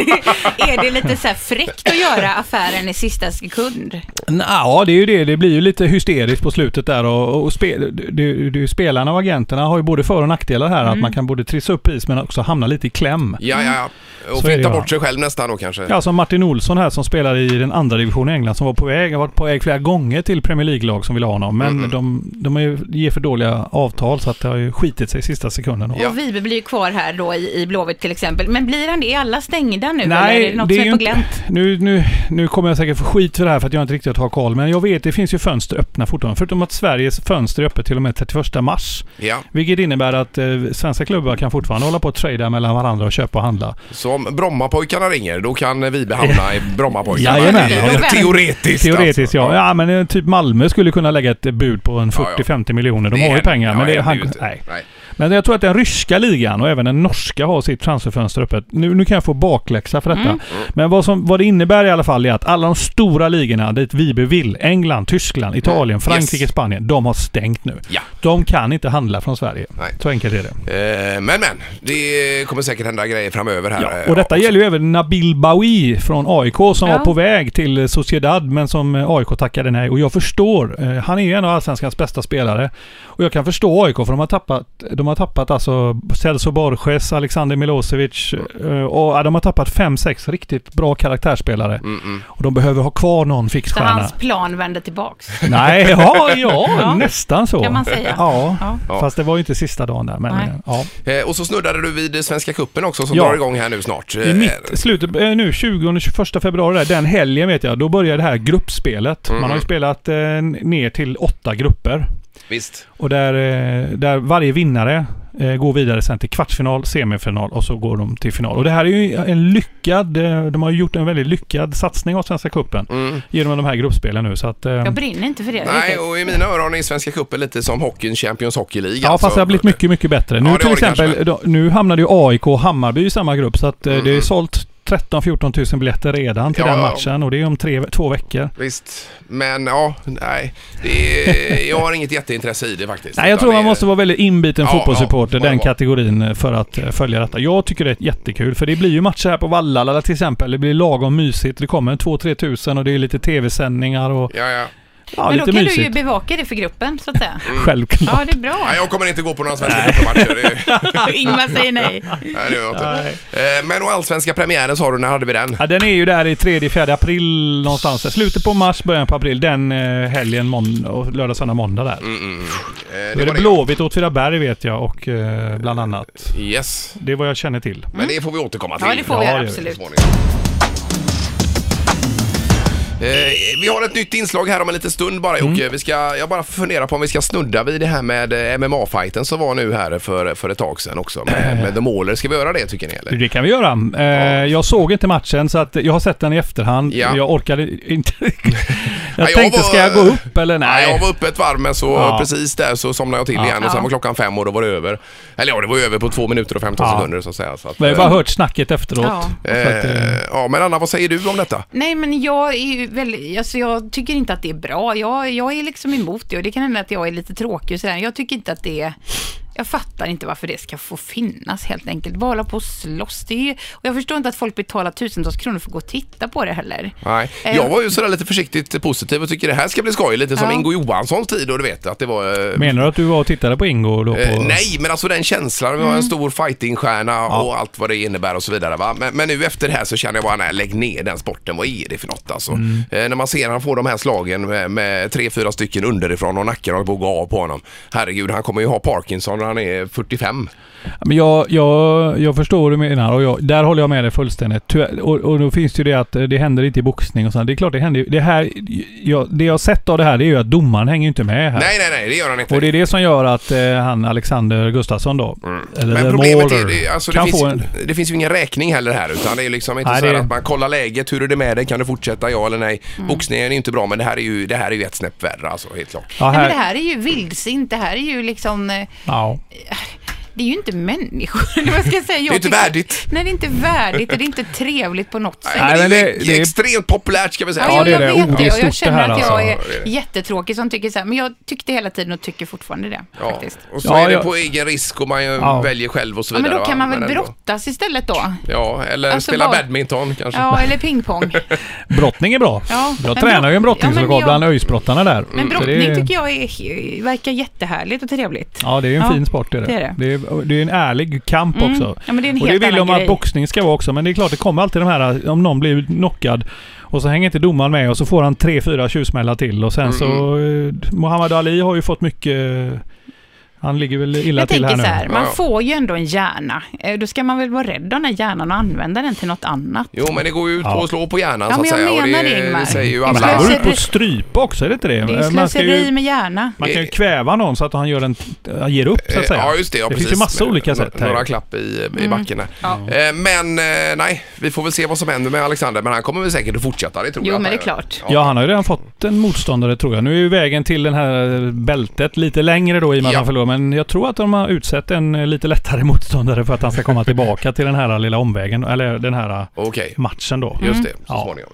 Speaker 6: det, är det lite så här fräckt att göra affären i sista sekund?
Speaker 1: Men... Ja, det är ju det. Det blir ju lite hysteriskt på slutet där. Och, och spe, det, det, spelarna och agenterna har ju både för och nackdelar här. Att man kan både trissa upp pris men också hamna lite i kläm.
Speaker 5: Ja, ja, ja. Och
Speaker 1: Mm. Så är det
Speaker 5: flytta
Speaker 1: ju,
Speaker 5: bort
Speaker 1: va?
Speaker 5: sig själv nästan då kanske.
Speaker 1: Ja, som alltså Martin Olsson här som spelar i den andra divisionen i England som var på väg, har varit på väg flera gånger till Premier League-lag som vill ha honom. Men
Speaker 5: Mm.
Speaker 1: de, de har ju, ger för dåliga avtal så att det har ju skitit sig i sista sekunden.
Speaker 5: Ja.
Speaker 6: Och Vibe blir ju kvar här då i, i Blåvitt till exempel. Men blir han det? Är alla stängda nu?
Speaker 1: Nej,
Speaker 6: eller är det något som är
Speaker 1: ju
Speaker 6: på
Speaker 1: inte-
Speaker 6: glänt?
Speaker 1: Nu, nu, nu kommer jag säkert få skit för det här för att jag inte riktigt har koll. Men jag vet, det finns ju fönster öppna fortfarande. Förutom att Sveriges fönster är öppet till och med 31 mars.
Speaker 5: Ja.
Speaker 1: Vilket innebär att eh, svenska klubbar kan fortfarande hålla på och trada mellan varandra och köpa och handla.
Speaker 5: Så om Brommapojkarna ringer, då kan vi hamna i Brommapojkarna.
Speaker 1: Jajamän.
Speaker 5: Det är
Speaker 6: Ja.
Speaker 5: Teoretiskt
Speaker 1: Teoretiskt
Speaker 5: alltså.
Speaker 1: ja. Ja men eh, typ Malmö skulle kunna lägga ett eh, bud på en
Speaker 5: Ja, ja.
Speaker 1: 40-50 miljoner. De
Speaker 5: Det
Speaker 1: har ju
Speaker 5: händer-
Speaker 1: pengar.
Speaker 5: ja,
Speaker 1: men, det,
Speaker 5: händer
Speaker 1: han,
Speaker 5: ju inte.
Speaker 1: nej.
Speaker 5: Nej.
Speaker 1: men jag tror att den ryska ligan och även den norska har sitt transferfönster öppet. Nu, nu kan jag få bakläxa för detta. Men vad, som, vad det innebär i alla fall är att alla de stora ligorna dit Vibe vill, England, Tyskland, Italien, Frankrike,
Speaker 5: Mm. Yes.
Speaker 1: Spanien, de har stängt nu.
Speaker 5: Ja.
Speaker 1: De kan inte handla från Sverige.
Speaker 5: Nej.
Speaker 1: Så enkelt är det.
Speaker 5: Eh, Men men, det kommer säkert hända grejer framöver här.
Speaker 1: Ja, och detta gäller ju även Nabil Bawi från AIK som
Speaker 6: Ja.
Speaker 1: var på väg till Sociedad men som eh, AIK tackade nej. Och jag förstår. eh, Han är ju en av Allsvenskans bästa spelare. Och jag kan förstå AIK för de har tappat, de har tappat alltså Celso Borges, Alexander Milosevic eh, och ja, de har tappat fem sex riktigt bra karaktärsspelare. Och de behöver ha kvar någon
Speaker 6: Så
Speaker 1: fixstjärna.
Speaker 6: hans plan vänder tillbaks.
Speaker 1: Nej, ja, ja,
Speaker 6: Ja.
Speaker 1: nästan så.
Speaker 6: Kan man säga.
Speaker 1: Ja.
Speaker 6: Ja.
Speaker 1: Fast det var ju inte sista dagen där. Men,
Speaker 6: Nej.
Speaker 1: eh, ja.
Speaker 5: Eh, Och så snuddade du vid Svenska Cupen också som
Speaker 1: Ja.
Speaker 5: drar igång här nu snart.
Speaker 1: I
Speaker 5: Eh,
Speaker 1: mitt, slutet, eh, nu 20-21 februari, där, den
Speaker 5: Mm.
Speaker 1: helgen vet jag, då börjar det här gruppspelet. Man har ju spelat eh, ner till åtta grupper.
Speaker 5: Visst.
Speaker 1: Och där, eh, där varje vinnare eh, går vidare sen till kvartsfinal, semifinal och så går de till final. Och det här är ju en lyckad, eh, de har ju gjort en väldigt lyckad satsning av Svenska Cupen
Speaker 5: Mm.
Speaker 1: genom de här gruppspelen nu. Så att, eh,
Speaker 6: Jag brinner inte för det
Speaker 5: Nej,
Speaker 6: riktigt.
Speaker 5: och i mina öron är Svenska cupen lite som hockeyn, Champions Hockey League. alltså.
Speaker 1: Ja, fast det har blivit mycket, mycket bättre. Nu
Speaker 5: Ja, det
Speaker 1: till
Speaker 5: har det
Speaker 1: exempel,
Speaker 5: kanske. Mm.
Speaker 1: då, nu hamnade ju AIK och Hammarby i samma grupp så att eh, det är sålt 13-14 000 biljetter redan till
Speaker 5: Ja,
Speaker 1: den
Speaker 5: ja.
Speaker 1: matchen och det är om tre, två veckor.
Speaker 5: Visst, men ja, nej. Det är, jag har inget jätteintresse i det faktiskt.
Speaker 1: Nej, jag
Speaker 5: Utan
Speaker 1: tror man
Speaker 5: det-
Speaker 1: måste vara väldigt inbiten
Speaker 5: Ja,
Speaker 1: fotbollssupporter,
Speaker 5: ja, får
Speaker 1: den
Speaker 5: det vara.
Speaker 1: kategorin, eh, för att eh, följa detta. Jag tycker det är jättekul, för det blir ju matcher här på Vallala till exempel. Det blir lagom mysigt. Det kommer 2-3 tusen och det är lite tv-sändningar och
Speaker 5: Ja, ja.
Speaker 1: ja,
Speaker 6: Men då
Speaker 1: lite
Speaker 6: kan du ju
Speaker 1: mysigt.
Speaker 6: bevaka det för gruppen, så att säga.
Speaker 1: Självklart.
Speaker 6: Ja, det är bra.
Speaker 5: Nej, jag kommer inte gå på några svenska cupmatcher. Det-
Speaker 6: Ingmar säger nej.
Speaker 5: Nej, det gör jag inte. Eh, Men och allsvenska premiären sa du, när hade vi den? Eh,
Speaker 1: Ja, den är ju där i 3-4 april någonstans. Slutet på mars, början på april. Den eh, helgen, månd- och lördag, söndag, måndag där.
Speaker 5: Eh,
Speaker 1: Då är
Speaker 5: var
Speaker 1: det Blåvitt och Åtvidaberg vet jag och eh, bland annat.
Speaker 5: Yes,
Speaker 1: Det är vad jag känner till.
Speaker 5: Mm. men det får vi återkomma till.
Speaker 6: Ja, det får vi
Speaker 1: Ja,
Speaker 6: göra,
Speaker 1: det är
Speaker 5: så
Speaker 6: absolut.
Speaker 5: småningom. Eh, vi har ett nytt inslag här om en liten stund bara Jocke.
Speaker 1: Mm.
Speaker 5: Vi ska, jag bara funderar på om vi ska snudda vid det här med eh, mma fighten som var nu här för, för ett tag sedan också.
Speaker 1: Eh.
Speaker 5: Med, med The Mauler. Ska vi göra det tycker ni eller?
Speaker 1: Det kan vi göra. Eh, Jag såg inte matchen så att jag har sett den i efterhand.
Speaker 5: Ja.
Speaker 1: Jag orkade inte. jag
Speaker 5: jag
Speaker 1: tänkte,
Speaker 5: var-
Speaker 1: ska jag gå upp eller
Speaker 5: Nej.
Speaker 1: nej?
Speaker 5: jag var uppe ett varv men så
Speaker 1: Ja.
Speaker 5: precis där så somnade jag till igen och sen var klockan fem och då var det över. Eller ja, det var över på två minuter och 15
Speaker 1: Ja.
Speaker 5: sekunder så att säga. Så att,
Speaker 1: Men jag har bara
Speaker 5: eh,
Speaker 1: hört snacket efteråt.
Speaker 6: Ja.
Speaker 1: Så att, eh,
Speaker 5: eh, ja, men Anna vad säger du om detta?
Speaker 6: Nej, men jag är ju väldigt, alltså jag tycker inte att det är bra. Jag, jag är liksom emot det och det kan hända att jag är lite tråkig och sådär. Jag tycker inte att det är... Jag fattar inte varför det ska få finnas helt enkelt. Bara hålla på och slåss. Det är ju, och jag förstår inte att folk betalar tusentals kronor för att gå och titta på det heller.
Speaker 5: Nej.
Speaker 6: Eh,
Speaker 5: Jag var ju sådär lite försiktigt positiv och tycker det här ska bli skoj. Lite som
Speaker 6: Ja.
Speaker 5: Ingo Johanssons tid och du vet att det var... eh,
Speaker 1: Menar du att du var och tittade på Ingo då? På...
Speaker 5: Eh, nej, men alltså den känslan. Vi
Speaker 6: Mm.
Speaker 5: har en stor fightingstjärna och allt vad det innebär och så vidare. Va? Men, men nu efter det här så känner jag bara, nej, lägg ner den sporten. Vad är det för något alltså?
Speaker 1: Mm.
Speaker 5: Eh, när man ser han får de här slagen med, med tre, fyra stycken underifrån och nacken håller på att gå av på honom. Herregud, han kommer ju ha Parkinson när han är 45.
Speaker 1: Men jag, jag, jag förstår vad du menar och jag, där håller jag med dig fullständigt. Tyvärr- Och, och då finns det ju det att eh, det händer inte i boxning och sånt. Det är klart det händer ju. Det, här, jag, det jag har sett av det här det är ju att domaren hänger ju inte med här.
Speaker 5: Nej, nej, nej, det gör han inte.
Speaker 1: Och det är det som gör att eh, han Alexander Gustafsson då, eller
Speaker 5: Mm. Men
Speaker 1: The
Speaker 5: problemet är,
Speaker 1: Mauler,
Speaker 5: det- alltså, det,
Speaker 1: kan
Speaker 5: finns,
Speaker 1: få en...
Speaker 5: det finns ju ingen räkning heller här utan det är liksom inte
Speaker 1: Nej,
Speaker 5: så här
Speaker 1: det- Mm.
Speaker 5: att man kollar läget, hur är det med dig, kan du fortsätta, ja eller nej. Boxningen är ju inte bra men det här är ju, det här är ju ett snäpp värre alltså, helt klart.
Speaker 1: Ja,
Speaker 6: Nej, men det
Speaker 1: här,
Speaker 6: här är ju vildsint. Det här är ju liksom... eh,
Speaker 1: ja.
Speaker 6: Det är ju inte människor. Eller Vad ska jag säga? Jag
Speaker 5: Det är inte
Speaker 6: tycker-
Speaker 5: värdigt.
Speaker 6: Nej, det är inte värdigt och det är inte trevligt på något sätt.
Speaker 5: Nej, men
Speaker 1: men
Speaker 5: det, är,
Speaker 1: det-
Speaker 5: det,
Speaker 1: det
Speaker 5: är
Speaker 1: är-
Speaker 5: extremt populärt ska vi säga.
Speaker 1: Ja, det
Speaker 6: jag
Speaker 1: är det.
Speaker 6: vet
Speaker 1: Oh, det är
Speaker 6: och jag
Speaker 1: stort det
Speaker 6: känner
Speaker 1: här,
Speaker 6: att jag
Speaker 5: alltså. Ja, det är
Speaker 6: är
Speaker 5: det.
Speaker 6: jättetråkig som tycker så här, men jag tyckte hela tiden och tycker fortfarande det.
Speaker 5: Ja,
Speaker 6: Faktiskt.
Speaker 5: och så
Speaker 1: Ja,
Speaker 5: är det
Speaker 1: jag-
Speaker 5: på egen risk och man ju
Speaker 1: Ja.
Speaker 5: väljer själv och så
Speaker 6: Ja,
Speaker 5: vidare.
Speaker 6: men då kan
Speaker 5: va?
Speaker 6: man väl
Speaker 5: ändå.
Speaker 6: brottas istället då?
Speaker 5: Ja, eller
Speaker 6: Alltså,
Speaker 5: spela
Speaker 6: bara-
Speaker 5: badminton kanske.
Speaker 6: Ja, eller pingpong.
Speaker 1: Brottning är bra.
Speaker 6: Ja, men
Speaker 1: jag tränar ju en
Speaker 6: brott- ja, men
Speaker 1: brottningslokal
Speaker 6: jag-
Speaker 1: bland öjsbrottarna där.
Speaker 6: Men
Speaker 1: Så det
Speaker 6: brottning
Speaker 1: är-
Speaker 6: tycker jag är, verkar jättehärligt och trevligt.
Speaker 1: Ja, det är ju en
Speaker 6: Ja,
Speaker 1: fin sport. Är det.
Speaker 6: det är det.
Speaker 1: Det, är, det är en ärlig kamp
Speaker 6: Mm.
Speaker 1: också.
Speaker 6: Ja, men det är en
Speaker 1: och det
Speaker 6: helt
Speaker 1: vill
Speaker 6: annan
Speaker 1: de att
Speaker 6: grej.
Speaker 1: boxning ska vara också. Men det är klart, det kommer alltid de här om någon blir knockad och så hänger inte domaren med och så får han tre, fyra tjuvsmällar till. Och sen så... eh, Muhammad Ali har ju fått mycket... Han ligger väl illa
Speaker 6: Jag
Speaker 1: till här
Speaker 6: tänker
Speaker 1: nu.
Speaker 6: så här,
Speaker 5: Ja,
Speaker 6: man
Speaker 5: ja.
Speaker 6: får ju ändå en hjärna. Eh, Då ska man väl vara rädd om den hjärnan och använda den till något annat.
Speaker 5: Jo, men det går ju ut på
Speaker 1: Ja.
Speaker 5: att slå på hjärnan
Speaker 6: Ja,
Speaker 5: så att
Speaker 6: men jag
Speaker 5: säga. och
Speaker 6: menar det,
Speaker 5: det,
Speaker 6: Ingmar.
Speaker 5: säger ju
Speaker 6: Det
Speaker 1: Men han
Speaker 5: alla.
Speaker 1: går
Speaker 6: slöseri.
Speaker 1: ut på att strypa också, är det inte det?
Speaker 6: Det är ju
Speaker 1: Man ska ju-
Speaker 6: slöseri med hjärna.
Speaker 1: Man kan ju kväva någon så att han gör en, äh, ger upp så att säga.
Speaker 5: Eh, Ja, just det. Ja,
Speaker 1: det
Speaker 5: precis.
Speaker 1: finns ju massa
Speaker 5: Med
Speaker 1: olika
Speaker 5: no-
Speaker 1: sätt här.
Speaker 5: Några klapp i,
Speaker 6: Mm.
Speaker 5: i backen där. Eh, Men eh, nej, vi får väl se vad som händer med Alexander. Men han kommer väl säkert att fortsätta, det tror
Speaker 6: Jo,
Speaker 5: jag.
Speaker 6: men det är klart.
Speaker 1: Ja, han har ju redan fått en motståndare tror jag. Nu är ju vägen till den här bältet lite längre då i och med att
Speaker 5: Ja.
Speaker 1: han förlorar. Men jag tror att de har utsett en eh, lite lättare motståndare för att han ska komma tillbaka till den här lilla omvägen, eller den här eh,
Speaker 5: Okej,
Speaker 1: matchen då.
Speaker 5: just det. Så
Speaker 1: Ja.
Speaker 5: småningom.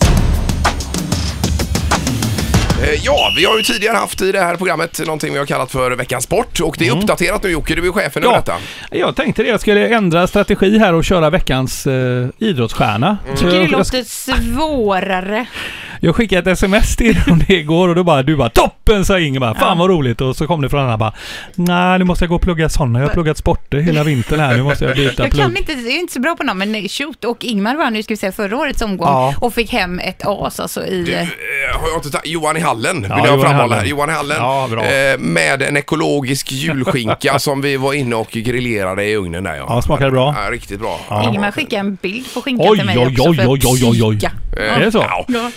Speaker 5: Eh, Ja, vi har ju tidigare haft i det här programmet någonting vi har kallat för veckans sport och det är uppdaterat nu Jocke, du är chefen över
Speaker 1: Mm. Ja,
Speaker 5: detta.
Speaker 1: jag tänkte det. Jag skulle ändra strategi här och köra veckans eh, idrottsstjärna. Så
Speaker 6: Tycker det
Speaker 1: jag, jag,
Speaker 6: låter svårare.
Speaker 1: jag skickade ett sms till honom igår och då bara du bara toppen sa Ingemar. Fan vad roligt. Och så kom det från andra bara nej nu måste jag gå och plugga sådana. Jag har pluggat sporter hela vintern här. Nu måste jag byta
Speaker 6: Jag
Speaker 1: plugg.
Speaker 6: kan inte, jag är inte så bra på namn, men shoot. Och Ingmar vann ju, ska vi säga, förra årets omgång
Speaker 1: Ja.
Speaker 6: och fick hem ett as alltså i...
Speaker 5: Du, eh, har jag inte tagit- Johan i Hallen vill
Speaker 1: Ja,
Speaker 5: jag
Speaker 1: Johan i
Speaker 5: framhålla. här.
Speaker 1: Hallen.
Speaker 5: Johan i Hallen
Speaker 1: Ja, bra.
Speaker 5: eh, med en ekologisk julskinka som vi var inne och grillerade i ugnen där.
Speaker 1: Ja, smakade det bra?
Speaker 5: riktigt bra.
Speaker 6: Ingmar skickade en bild på skinkan
Speaker 1: Oj,
Speaker 6: till mig
Speaker 1: oj,
Speaker 6: också
Speaker 1: oj,
Speaker 6: för
Speaker 1: oj, oj, oj.
Speaker 6: psyka.
Speaker 5: Eh,
Speaker 1: Är det så?
Speaker 5: ja.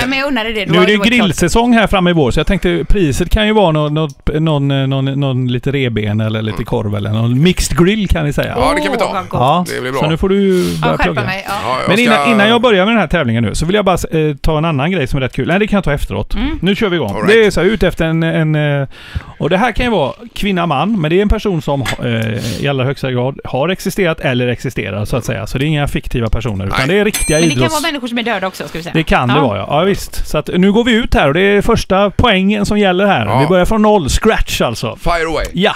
Speaker 6: Ja, men jag undrade det.
Speaker 1: Nu är det
Speaker 6: var klart.
Speaker 1: grillsäsong här framme i vår, så jag tänkte priset kan ju vara någon, någon, någon, eh, någon, någon lite reben eller
Speaker 6: Mm.
Speaker 1: lite korv eller någon mixed grill kan ni säga.
Speaker 5: Ja, det kan vi ta.
Speaker 6: Åh, vad gott.
Speaker 1: Ja,
Speaker 5: det blir bra.
Speaker 1: så nu får du börja
Speaker 6: Ja, skärpa
Speaker 1: plugga.
Speaker 6: mig. Ja.
Speaker 5: Ja,
Speaker 1: Men
Speaker 5: ska-
Speaker 1: innan, innan jag börjar med den här tävlingen nu så vill jag bara eh, ta en annan grej som är rätt kul. Nej, det kan jag ta efteråt.
Speaker 6: Mm.
Speaker 1: Nu kör vi igång.
Speaker 5: All right.
Speaker 1: Det är så här, ute efter en... en eh, och det här kan ju vara kvinna, man, men det är en person som eh, i allra högsta grad har existerat eller existerar så att säga. Så det är inga fiktiva personer, utan
Speaker 5: Nej.
Speaker 1: det är riktiga
Speaker 6: Men det kan
Speaker 1: idrotts...
Speaker 6: vara människor som är döda också, ska vi säga.
Speaker 1: det kan det vara ja. ja visst. Så att, nu går vi ut här och det är första poängen som gäller här.
Speaker 5: Ja.
Speaker 1: Vi börjar från noll, scratch alltså.
Speaker 5: Fire away.
Speaker 1: Ja.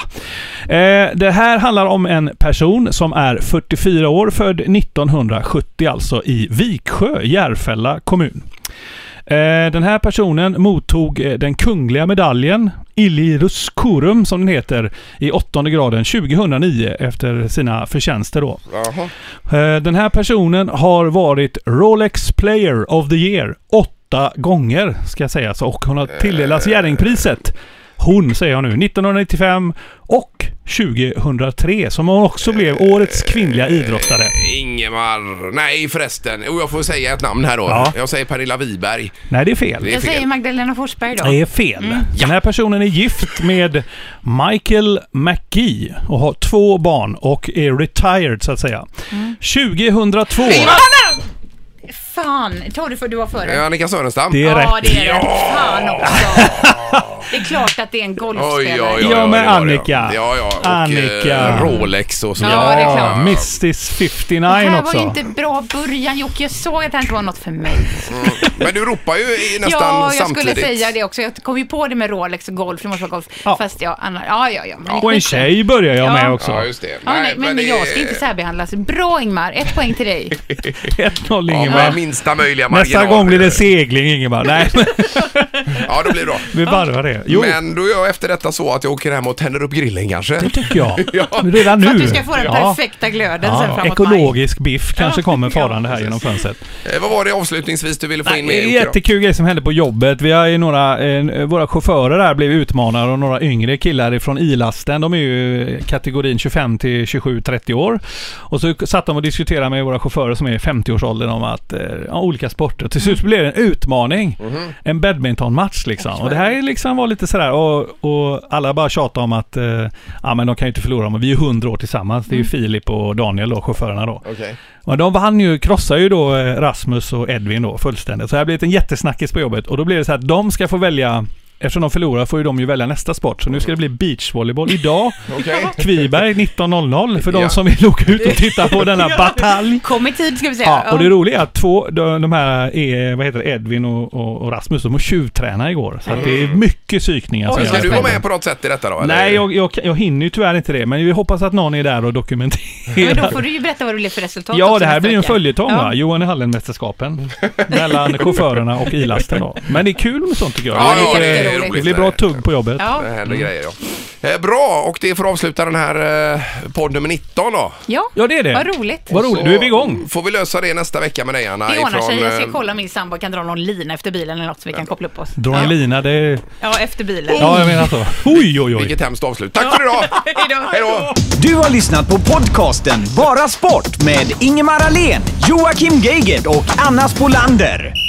Speaker 1: Eh, det här handlar om en person som är 44 år, född 1970 alltså i Viksjö, Järfälla kommun. Eh, den här personen mottog eh, den kungliga medaljen Illyrus Corum som den heter i åttonde graden 2009 efter sina förtjänster då.
Speaker 5: Jaha.
Speaker 1: Eh, Den här personen har varit Rolex Player of the Year åtta gånger ska sägas och hon har tilldelats Jerringpriset. Hon säger jag nu, 1995 och 2003 som hon också blev årets kvinnliga idrottare.
Speaker 5: Ingemar. Nej förresten. Jo, jag får säga ett namn här då.
Speaker 1: Ja.
Speaker 5: Jag säger Pernilla Wiberg.
Speaker 1: Nej, det är fel.
Speaker 5: Det är
Speaker 6: Jag säger
Speaker 5: fel.
Speaker 6: Magdalena Forsberg då.
Speaker 1: Det är fel. Den här personen är gift med Michael McGee och har två barn och är retired så att säga.
Speaker 6: Mm.
Speaker 1: 2002.
Speaker 6: Fan, ta det för du var före.
Speaker 5: Eh, Annika Sörenstam.
Speaker 1: Det är
Speaker 6: ja,
Speaker 1: rätt.
Speaker 6: det är det.
Speaker 5: Ja.
Speaker 6: Fan också. Det är klart att det är en
Speaker 5: Oj, oj,
Speaker 6: golfspelare.
Speaker 5: oj,
Speaker 1: Ja,
Speaker 5: oj,
Speaker 1: men
Speaker 5: det var det,
Speaker 1: Annika.
Speaker 5: Ja, ja. Och,
Speaker 1: Annika.
Speaker 5: eh, Rolex och så.
Speaker 6: Ja, det är klart.
Speaker 1: Eh, Mistis 59
Speaker 6: Det här
Speaker 1: också.
Speaker 6: var ju inte bra början Jocke. Jag sa att det här inte var något för mig.
Speaker 5: Mm. Men du ropar ju i- nästan
Speaker 6: ja, jag
Speaker 5: samtidigt.
Speaker 6: skulle säga det också. Jag kom ju på det med Rolex och golf. Det måste vara golf.
Speaker 1: Ja.
Speaker 6: Fast jag... Anna, ja, ja, ja. men-
Speaker 1: Och en tjej börjar jag
Speaker 6: Ja.
Speaker 1: med också.
Speaker 5: Ja, just det.
Speaker 6: Ja, nej, men,
Speaker 5: det
Speaker 6: jag ska
Speaker 5: är-
Speaker 6: inte särbehandlas. Bra Ingmar, ett poäng till dig.
Speaker 1: 1-0
Speaker 5: Ja,
Speaker 1: Ingemar.
Speaker 5: med minsta möjliga marginal.
Speaker 1: Nästa gång blir det segling Ingemar. Nej, men
Speaker 5: Ja, då blir det bra.
Speaker 1: vi varvar det. Jo,
Speaker 5: Men då gör jag efter detta så att jag åker hem och tänder upp grillen kanske.
Speaker 1: det tycker jag.
Speaker 5: Ja.
Speaker 1: Redan nu.
Speaker 6: För att du ska få den
Speaker 1: Ja.
Speaker 6: perfekta glöden sen
Speaker 1: Ja,
Speaker 6: framåt maj.
Speaker 1: ekologisk biff kanske kommer
Speaker 6: Ja,
Speaker 1: farande här genom fönstret.
Speaker 5: Eh, vad var det avslutningsvis du ville få in med
Speaker 1: Nej,
Speaker 5: Jocke då?
Speaker 1: jättekul grej som hände på jobbet. Vi har ju några, eh, våra chaufförer där blev utmanade och några yngre killar från ilasten. De är ju kategorin 25 till 27, 30 år. Och så satt de och diskuterade med våra chaufförer som är i 50-årsåldern om att, eh, ja, olika sporter. Till slut blev det en utmaning.
Speaker 5: Mhm.
Speaker 1: En badmintonmatch liksom. Och det här är liksom var lite sådär och, och alla bara tjatade om att, eh, ja men de kan ju inte förlora men vi är ju 100 år tillsammans.
Speaker 5: Mm.
Speaker 1: Det är ju Filip och Daniel då, chaufförerna då.
Speaker 5: Okej.
Speaker 1: Men de vann ju, krossade ju då eh, Rasmus och Edvin då fullständigt. Så det har blivit en jättesnackis på jobbet. Och då blir det så här att de ska få välja, eftersom de förlorar får ju de ju välja nästa sport. Så nu ska det bli beachvolleyboll idag.
Speaker 5: Okej.
Speaker 1: Kviberg 19.00 för de
Speaker 5: Ja.
Speaker 1: som vill åka ut och titta på denna batalj.
Speaker 6: Kom i tid ska vi säga.
Speaker 1: Ja, och det roliga är att två, de, de här är, vad heter det, Edvin och, och, och Rasmus, de har tjuvtränat igår. Så att det är mycket psykningar. som
Speaker 5: Men Ska
Speaker 1: görs.
Speaker 5: du vara med på något sätt i detta då? eller?
Speaker 1: Nej, jag, jag, jag hinner ju tyvärr inte det, men vi hoppas att någon är där och dokumenterar.
Speaker 6: Men då får du ju berätta vad det blev för resultat
Speaker 1: Ja,
Speaker 6: också
Speaker 1: det här
Speaker 6: nästa
Speaker 1: blir ju en
Speaker 6: vecka.
Speaker 1: följetong
Speaker 6: Ja.
Speaker 1: va? Johan i Hallen-mästerskapen. Mellan chaufförerna och ilasten då. Men det är kul med sånt tycker jag.
Speaker 5: Ja,
Speaker 1: Det
Speaker 5: ja,
Speaker 1: är lite-
Speaker 5: det är roligt.
Speaker 1: det blir bra tugg på jobbet.
Speaker 5: Det
Speaker 6: Ja.
Speaker 5: händer grejer ja. Eh, bra, och det får avsluta den här eh, podd nummer 19 då.
Speaker 6: Ja.
Speaker 1: Ja, det är det.
Speaker 6: Vad roligt.
Speaker 1: Vad roligt.
Speaker 5: Så
Speaker 1: Nu är vi igång.
Speaker 5: Får vi lösa det nästa vecka med dig Anna?
Speaker 6: Det ordnar
Speaker 5: ifrån,
Speaker 6: sig. Jag
Speaker 5: eh,
Speaker 6: ska kolla om min sambo kan dra någon lina efter bilen eller något så vi kan koppla upp oss.
Speaker 1: Dra en lina, det är...
Speaker 6: Ja, efter bilen.
Speaker 1: Ja, jag menar
Speaker 5: Mm.
Speaker 1: så. Oj, oj, oj.
Speaker 5: Vilket hemskt avslut. Tack för idag!
Speaker 6: Hejdå.
Speaker 5: Hej då!
Speaker 4: Du har lyssnat på podcasten Bara Sport med Ingemar Ahlén, Joakim Geigert och Anna Spolander.